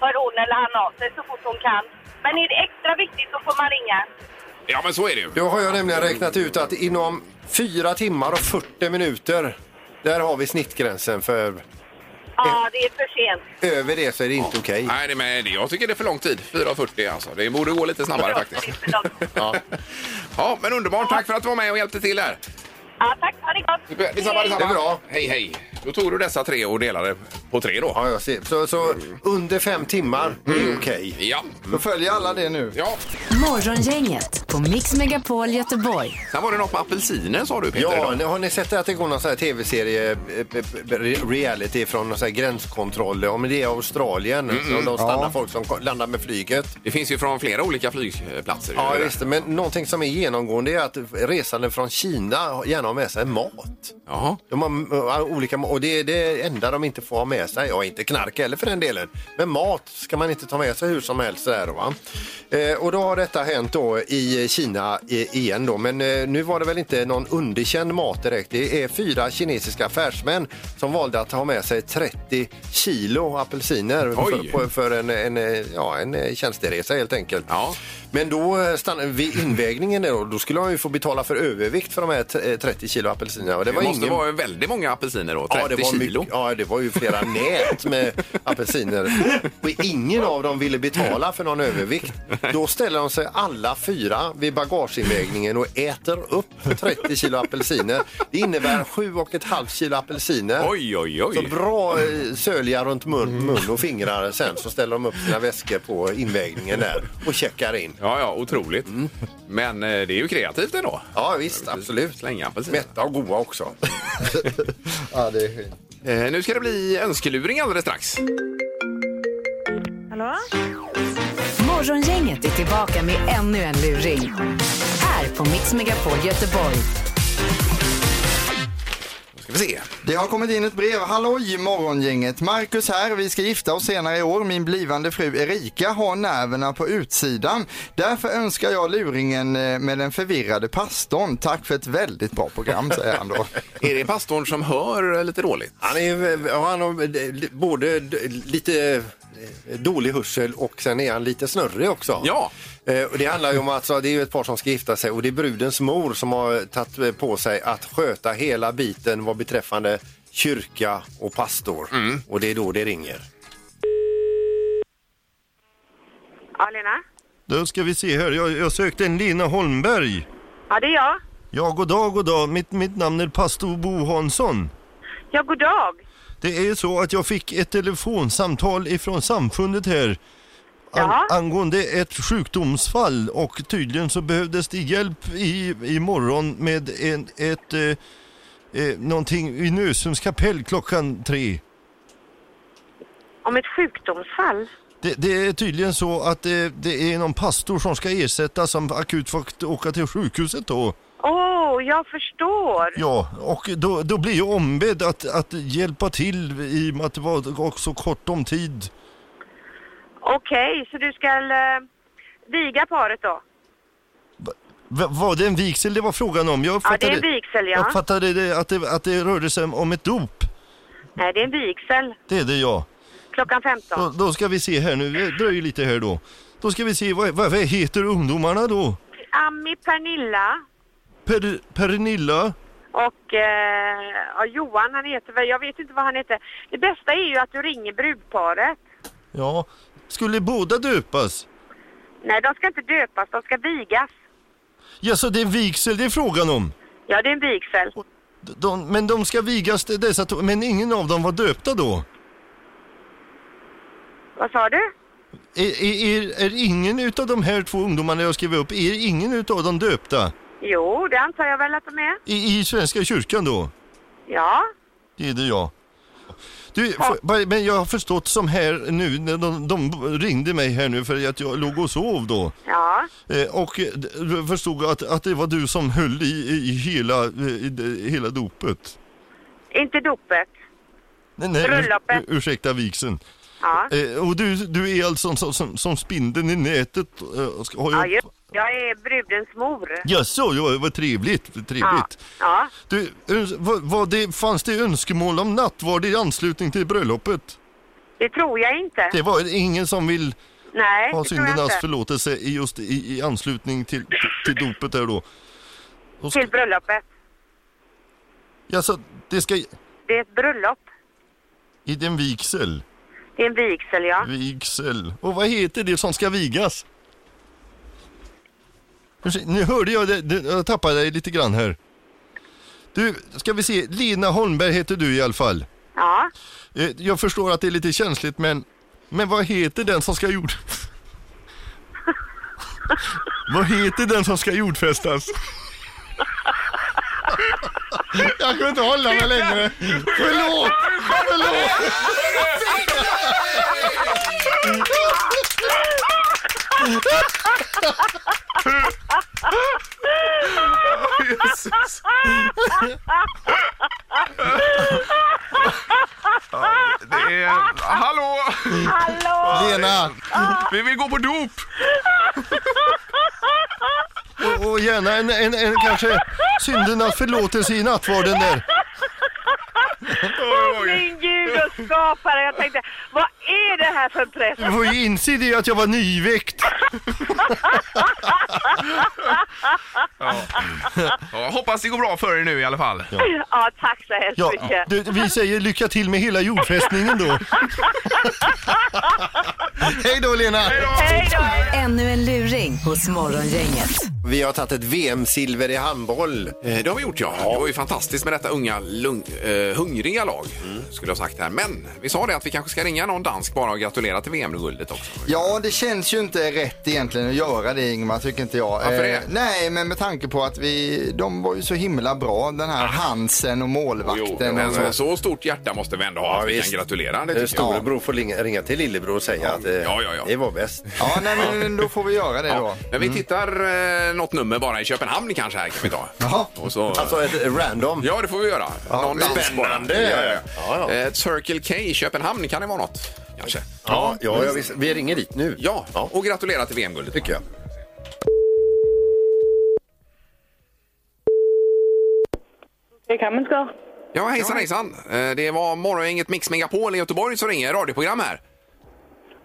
S10: hör hon eller han av sig så fort hon kan. Men är det extra viktigt så får man ringa.
S2: Ja, men så är det ju.
S3: Då har jag nämligen räknat ut att inom fyra timmar och 40 minuter, där har vi snittgränsen. För
S10: Ja, det är för sent.
S3: över det så är det inte okej.
S2: Nej, det med det. jag tycker det är för lång tid. 4.40 alltså. Det borde gå lite snabbare faktiskt.
S3: Ja.
S2: Ja, men underbart. Tack för att du var med och hjälpte till här.
S10: Ja, tack. Ha det gott.
S2: Detsamma, detsamma.
S3: Det är bra.
S2: Hej, hej. Då tog du dessa tre och delade på tre då.
S3: Ja, jag ser. Så, så under fem timmar det är okej.
S2: Mm. Ja.
S4: Då följer alla det nu.
S2: ja.
S1: Morgongänget på Mix Megapol Göteborg.
S2: Sen var det något med apelsiner sa du Peter.
S3: Ja,
S2: idag.
S3: nu har ni sett att det går någon sån här tv-serie, eh, eh, re- reality från någon sån här gränskontroll? Ja, men det är Australien.
S2: Mm,
S3: Så de stannar folk som ko- landar med flyget.
S2: Det finns ju från flera olika flygplatser.
S3: Ja,
S2: ju.
S3: visst. Men någonting som är genomgående är att resande från Kina gärna har med sig mat.
S2: Jaha.
S3: De har mm, olika, och det är det enda de inte får ha med sig. Ja, inte knark heller för den delen. Men mat ska man inte ta med sig hur som helst. Där, va? Eh, och då har detta hänt då i Kina i- igen. Då. Men eh, nu var det väl inte någon underkänd mat direkt. Det är fyra kinesiska affärsmän som valde att ha med sig 30 kilo apelsiner
S2: Oj.
S3: för, på- för en, en, eh, ja, en eh, tjänsteresa helt enkelt.
S2: Ja.
S3: Men då eh, stannade vid invägningen då, då skulle han ju få betala för övervikt för de här t- eh, 30 kilo apelsinerna. Och
S2: Det, måste
S3: ingen-
S2: vara väldigt många apelsiner då, 30
S3: ja, det var
S2: kilo.
S3: Mycket, ja, det var ju flera nät med apelsiner. Och ingen av dem ville betala för någon övervikt. Då ställer de sig alla fyra vid bagageinvägningen och äter upp 30 kilo apelsiner. Det innebär 7,5 kilo apelsiner.
S2: Oj, oj, oj.
S3: Så bra eh, sölja runt mun, mun och fingrar sen så ställer de upp sina väskor på invägningen där och checkar in.
S2: Ja, ja, otroligt.
S3: Mm.
S2: Men eh, det är ju kreativt ändå.
S3: Ja visst, absolut.
S2: Slänga apelsiner.
S3: Mätta och goa också.
S4: Ja, det är fint.
S2: Eh, nu ska det bli önskeluring alldeles strax.
S5: Hallå?
S1: Morgongänget är tillbaka med ännu en luring. Här på Mix Megapol Göteborg.
S2: Då ska vi se.
S4: Det har kommit in ett brev. Halloj morgongänget! Marcus här. Vi ska gifta oss senare i år. Min blivande fru Erika har nerverna på utsidan. Därför önskar jag luringen eh, med den förvirrade pastorn. Tack för ett väldigt bra program, säger han då.
S2: Är det pastorn som hör eh, lite dåligt?
S3: Han, är, ja, han har eh, både d- lite eh, dålig hörsel och sen är han lite snurrig också.
S2: Ja.
S3: Eh, och det handlar ju om att så, det är ju ett par som ska gifta sig och det är brudens mor som har tagit eh, på sig att sköta hela biten vad beträffande kyrka och pastor. Och det är då det ringer.
S5: Ja, Lena?
S11: Då ska vi se här. Jag, jag sökte en Lena Holmberg.
S5: Ja, det är jag.
S11: Ja, god dag, god dag. Mitt, mitt namn är pastor Bo Hansson.
S5: Ja, god dag.
S11: Det är ju så att jag fick ett telefonsamtal ifrån samfundet här
S5: Jaha.
S11: angående ett sjukdomsfall och tydligen så behövdes det hjälp i, imorgon med en, ett eh, eh, någonting i Nösums kapell klockan tre.
S5: Om ett sjukdomsfall?
S11: Det, det är tydligen så att det, det är någon pastor som ska ersättas som akut får åka till sjukhuset då.
S5: Åh, oh, jag förstår.
S11: Ja, och då, då blir jag ombedd att, att hjälpa till i och med att det var också kort om tid.
S5: Okej, så du ska eh, viga paret då?
S11: Va- var det en vigsel det var frågan om? Jag
S5: Ja, det
S11: fattade,
S5: är en vigsel, ja.
S11: Jag fattade det, att, det, att det rörde sig om ett dop.
S5: Nej, det är en vigsel.
S11: Det är det ja.
S5: Klockan 15.
S11: Då, då ska vi se här nu, det dröjer lite här då. Då ska vi se, vad, vad vad heter ungdomarna då?
S5: Ami, Pernilla
S11: Per, Pernilla?
S5: och eh, ja, Johan, han heter väl, jag vet inte vad han heter. Det bästa är ju att du ringer brudparet.
S11: Ja. Skulle båda döpas?
S5: Nej, de ska inte döpas, de ska vigas.
S11: Ja, så det är vigsel det är frågan om?
S5: Ja, det är en vigsel.
S11: D- De, men de ska vigas till dessa to- men ingen av dem var döpta då?
S5: Vad sa du?
S11: Är, är, E, är, är ingen utav de här två ungdomarna jag skrev upp, är ingen utav dem döpta?
S5: Jo, det antar jag väl att de är.
S11: I, I Svenska kyrkan då?
S5: Ja.
S11: Det är det jag. Du, för, bara- men jag har förstått som här nu, när de, de ringde mig här nu för att jag låg och sov då.
S5: Ja,
S11: Eh, och eh, d- jag förstod att, att det var du som höll i, i hela, eh, i, det- hela dopet.
S5: inte dopet.
S11: Nej, nej,
S5: Bröllopet.
S11: ursäkta vigseln.
S5: Ja,
S11: Eh, och du, du är alltså som, som, som spindeln i nätet? Eh, ska- har
S5: ja
S11: jag...
S5: just. jag är brudens mor.
S11: Jaså, ja, vad trevligt. vad
S5: Ja,
S11: trevligt.
S5: ja.
S11: Du, öns- vad, vad det, fanns det önskemål om nattvard i anslutning till bröllopet?
S5: det tror jag inte.
S11: Det var ingen som vill
S5: Nej,
S11: ha
S5: det tror jag
S11: syndernas
S5: inte.
S11: förlåtelse i just i, i anslutning till, till dopet där då. Och ska,
S5: Till bröllopet.
S11: ja, så det ska...
S5: Det är ett bröllop.
S11: I den vigsel?
S5: Det är en vigsel, ja.
S11: Vigsel. Och vad heter det som ska vigas? Ursäkta, Nu hörde jag det, det, jag tappade dig lite grann här. Du, ska vi se, Lena Holmberg heter du i alla fall.
S5: Ja.
S11: Eh, Jag förstår att det är lite känsligt men, men vad heter den som ska jord... vad heter den som ska jordfästas? Jag kunde inte hålla mig längre. Förlåt! Förlåt!
S2: Jesus. Det är... Hallå!
S5: Hallå!
S11: Lena.
S2: Vi vill gå på dop!
S11: Och, och gärna en, en, en kanske syndernas förlåtelse i nattvarden där.
S5: Åh, Min gud och skapare, jag tänkte, vad är det här för press?
S11: Du får ju inse det att jag var nyväckt.
S2: Ja. Ja, hoppas det går bra för er nu i alla fall.
S5: Ja, tack så hemskt
S11: Ja,
S5: mycket.
S11: du, vi säger lycka till med hela jordfästningen då.
S3: Hej då Lena!
S5: Hej då!
S1: Ännu en luring hos Morgongänget.
S3: Vi har tagit ett VM-silver i handboll.
S2: Eh, Det har vi gjort ja. Det var ju fantastiskt med detta unga, lung, eh, hungriga lag. Skulle jag ha sagt här. Men vi sa det att vi kanske ska ringa någon dansk bara och gratulera till VM-guldet också.
S4: Ja, det känns ju inte rätt egentligen att göra det Ingmar, tycker inte jag. Eh,
S2: Varför det?
S4: nej, men med tanke på att vi, de var ju så himla bra, den här Hansen och
S2: Jo,
S4: målvakten.
S2: men
S4: och
S2: så.
S4: så.
S2: stort hjärta måste vi ändå ha att vi kan gratulera. Det
S3: Eh,
S2: tycker jag.
S3: Storebror får ling- ringa till lillebror och säga att eh,
S2: Ja, ja, ja.
S3: det var bäst.
S4: Ja, nej, men då får vi göra det då.
S2: Men vi tittar eh, något nummer bara i Köpenhamn kanske här kan vi ta.
S4: Jaha.
S2: Och så...
S3: Alltså ett random.
S2: Ja, det får vi göra. Någon dans
S3: spännande.
S2: bara. Ja, ja.
S3: Ja, ja.
S2: Eh, Circle K i Köpenhamn kan det vara något. Kanske.
S3: Ja, ja, ja visst. vi ringer dit nu.
S2: Ja, och gratulera till VM-guldet.
S3: tycker jag.
S5: Det kan man ska.
S2: Ja, hejsan hejsan. Eh, Det var morgongänget Mix Megapol i Göteborg som ringer. Radioprogram här.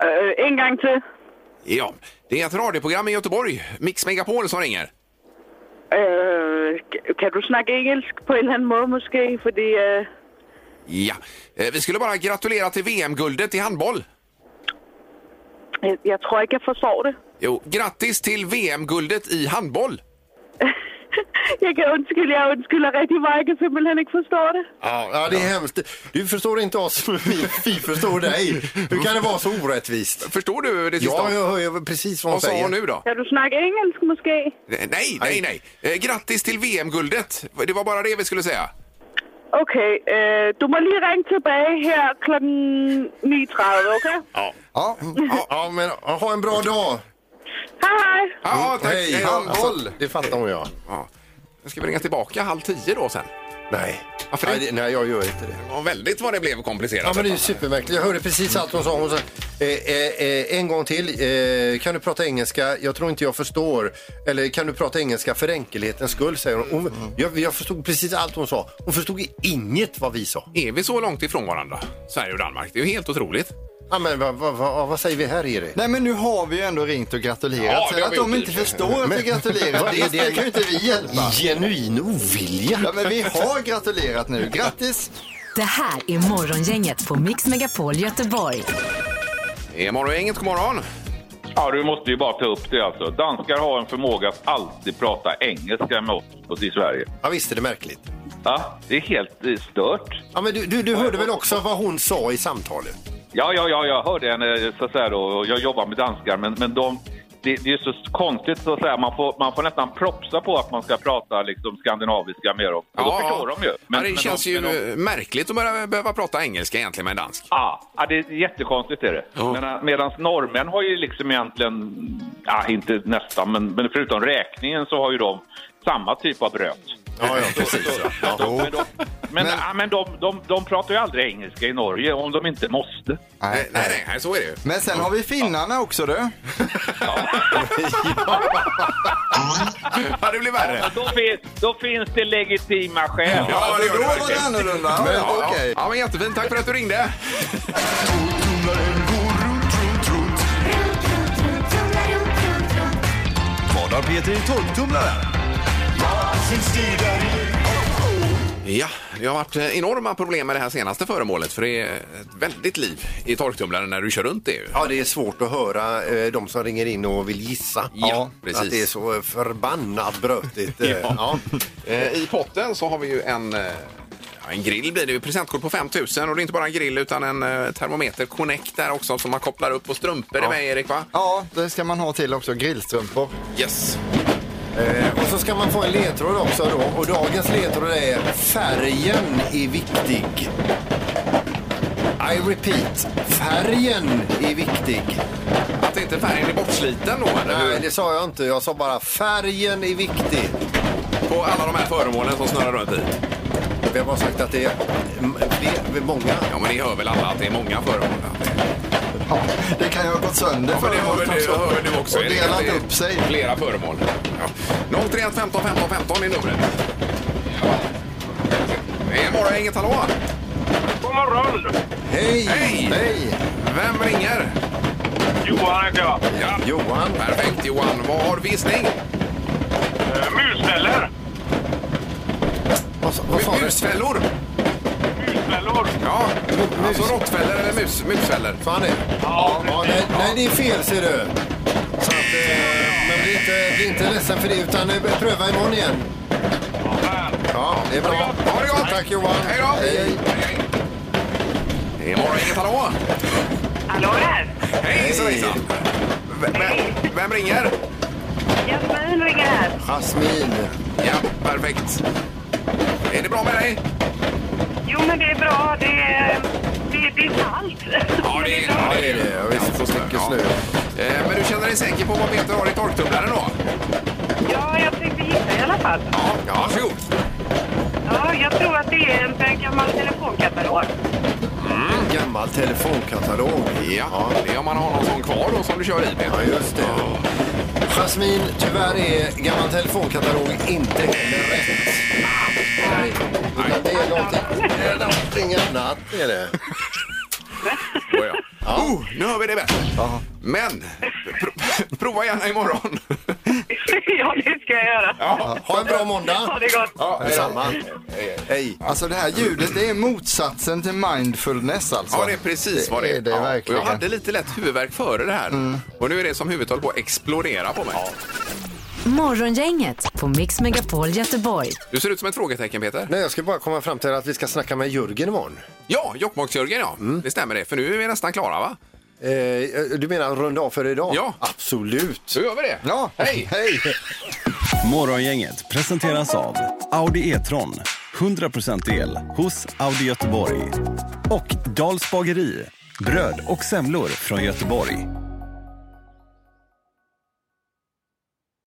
S5: Eh, en gång till.
S2: Ja, det är ett radioprogram i Göteborg, Mix Megapol, som ringer.
S5: Eh, k- kan du snacka engelsk på en eller annan måde måske? Fordi, eh,
S2: Ja. Eh, Vi skulle bara gratulera till VM-guldet i handboll.
S5: jeg, jeg Eh, tror ikke, jeg forstår det.
S2: Jo, grattis till VM-guldet i handboll.
S5: Jeg kan undskylde, jeg undskylder rigtig meget. Jeg kan simpelthen ikke forstå det.
S3: Ja, ja, det är hemskt. Du förstår inte oss, men vi, vi förstår dig. Hur kan det vara så orättvist?
S2: Förstår du det sista?
S3: Ja, jag hör ju precis vad hon
S2: Vad sa
S3: säger.
S2: hon nu då?
S5: Kan du snakke engelsk måske?
S2: Nej, nej, nej. Eh, Grattis till VM-guldet. Det var bara det vi skulle säga.
S5: Okay, øh, du må lige ringe tilbage her kl. 9.30, okay?
S4: Ja.
S3: Ja, ja, men ja, ha en bra dag.
S5: Hej hej!
S2: Ja, tack.
S3: Mm, Hej,
S2: Hej då.
S3: handboll. Det fattar hon ja.
S2: Ja. Ska vi ringa tillbaka halv tio då sen?
S3: Nej.
S2: Varför det?
S3: nej, det- nej, jag gör inte det.
S2: Ja, väldigt vad det blev komplicerat.
S3: Ja, men det är ju supermärkligt. Jag hörde precis allt hon sa. Hon sa eh, eh, eh, en gång till, eh, kan du prata engelska? Jag tror inte jag förstår. Eller kan du prata engelska för enkelhetens skull, säger hon. hon jag, jag förstod precis allt hon sa. Hon förstod inget vad vi sa.
S2: Är vi så långt ifrån varandra, Sverige och Danmark? Det är ju helt otroligt.
S3: Ja, men, vad, vad, vad, vad säger vi här, Erik?
S4: Nej, men nu har vi ju ändå ringt och gratulerat.
S2: Ja,
S4: Sen
S2: det har
S4: att
S2: vi
S4: de
S2: gjort.
S4: inte förstår att vi gratulerar,
S3: Vad är
S4: det,
S3: det?
S4: det kan ju inte vi hjälpa.
S3: Genuin ovilja.
S4: Ja, men vi har gratulerat nu. Grattis!
S1: Det här är Morgongänget på Mix Megapol Göteborg.
S2: Är morgongänget, god morgon.
S12: Ja, du måste ju bara ta upp det alltså. Danskar har en förmåga att alltid prata engelska med oss i Sverige.
S3: Ja, visst är det märkligt.
S12: Ja, det är helt eh, stört.
S3: Ja, men du, du, du hörde väl också vad hon sa i samtalet?
S12: Ja, ja, ja, jag hörde henne eh, så att säga då, och jag jobbar med danskar, men, men de, det, det är så konstigt så att säga, man får, man får nästan propsa på att man ska prata liksom skandinaviska med dem. Och då förstår de ju.
S2: ja, det känns
S12: de-
S2: ju
S12: men de-
S2: märkligt att börja, behöva prata engelska egentligen med en dansk.
S12: Ja, ja, det är jättekonstigt är det.
S2: Ja.
S12: Medan, medans norrmän har ju liksom egentligen, ja, inte nästan, men, men förutom räkningen så har ju de samma typ av bröt.
S3: Ja, ja, precis. Ja.
S12: Men, de, men, ja, men de, de, de pratar ju aldrig engelska i Norge om de inte måste.
S2: Nej, nej, nej, så är det ju.
S4: Men sen har vi finnarna också du.
S2: Ja, det blir värre.
S12: Då finns, då finns det legitima skäl.
S2: Ja, det
S4: Då
S2: gör det
S4: var det
S2: verkligen.
S4: annorlunda.
S2: Ja,
S4: Ja,
S2: ja,
S4: okej.
S2: ja, men jättefint. Tack för att du ringde.
S13: Vad har Peter i tolvtumlaren?
S2: Ja, det har varit eh, enorma problem med det här senaste föremålet för det är ett väldigt liv i torktumlaren när du kör runt det ju.
S3: Ja, det är svårt att höra eh, de som ringer in och vill gissa.
S2: Ja,
S3: Att det är
S2: precis.
S3: så förbannat brötigt. eh, ja.
S2: Eh, I potten så har vi ju en eh, En grill blir det ju. Presentkort på 5000 och det är inte bara en grill utan en eh, termometer Connect där också som man kopplar upp och strumpor är med Erik va?
S4: Ja, det ska man ha till också. Grillstrumpor.
S2: Yes.
S3: Eh, och så ska man få en ledtråd också då. Och dagens ledtråd är färgen är viktig. I repeat, färgen är viktig.
S2: Att inte färgen är bortsliten då?
S3: Nej, det sa jag inte. Jag sa bara färgen är viktig.
S2: På alla de här föremålen som snurrar runt i.
S3: Vem har sagt att det är, det är många?
S2: Ja, men det hör väl alla att det är många föremål.
S4: Det kan ju ha gått sönder
S2: Ja, men det hör väl du,
S4: också.
S2: hör du också
S4: Och
S2: Erik, att det
S4: delat
S2: är
S4: upp sig.
S2: Flera föremål. Ja. 031 15 15 15 är numret. Det är morgon, inget hallå?
S6: God morgon!
S3: Hej!
S2: Hej! Vem ringer?
S6: Johan heter jag.
S2: Ja.
S3: Johan.
S2: Perfekt Johan. Vad har du för gissning?
S6: Eh, Musfällor!
S3: Vad, sa- vad sa du?
S2: Musfällor.
S6: Musfällor!
S2: Ja, alltså råttfällor eller mus, musfällor.
S3: Fan det.
S6: Ja,
S3: Ja, nej, nej, det är fel ser du. Så att, eh, men bli inte, bli inte ledsen för det utan eh, pröva imorgon igen. Ja, det är bra.
S2: Ha det gott!
S3: Tack Johan.
S2: Hej då! hej. Det är morgon, inget hallå?
S5: Hallå där!
S2: Hej så hejsan! Vem, vem- vem ringer?
S5: Jasmin ringer här.
S3: Jasmin.
S2: Ja, perfekt. Är det bra med dig?
S5: Jo, men det är bra. Det är, det, det är kallt.
S2: Ja, det, ja, det är det. Ja, visst, så snö. Ja. Eh, Men du känner dig säker på vad Peter har i torktumlaren då?
S5: Ja, jag tänkte gissa i alla fall.
S2: Ja, ja varsågod.
S5: Ja, jag tror att det är en en gammal telefonkatalog.
S3: En gammal telefonkatalog.
S2: Ja, det är om man har någon sån kvar då som du kör i
S3: Ja,
S2: Peter.
S3: just det. Jasmin, tyvärr är gammal telefonkatalog inte heller rätt. Nej, utan det är någonting, det är någonting annat. Är det?
S2: Oh, ja. Oh, nu hör vi det bättre. Men, pr- prova gärna imorgon.
S5: ja, det ska jag göra.
S2: Ja,
S3: Ha en bra måndag.
S5: Ha det gott.
S2: ja, hej då.
S3: Detsamma. Hej.
S4: Alltså det här ljudet, det är motsatsen till mindfulness alltså.
S2: Ja, det är precis vad det Mm. är.
S4: är. Det
S2: ja. Och
S4: verkligen.
S2: Jag hade lite lätt huvudvärk före det här. Och nu är det som huvudet håller på att explodera på mig.
S1: Morgongänget på Mix Megapol Göteborg.
S2: Du ser ut som ett frågetecken, Peter.
S3: Nej, jag ska bara komma fram till att vi ska snacka med Jörgen imorgon.
S2: Ja, Jokkmokks-Jörgen, ja. Det stämmer det. För nu är vi nästan klara, va?
S3: Eh, du menar runda av för idag?
S2: Ja.
S3: Absolut.
S2: Så gör vi det.
S4: Ja,
S2: Hej!
S4: hej!
S13: Morgongänget presenteras av Audi E-tron. 100% el hos Audi Göteborg. Och Dals bageri. Bröd och semlor från Göteborg.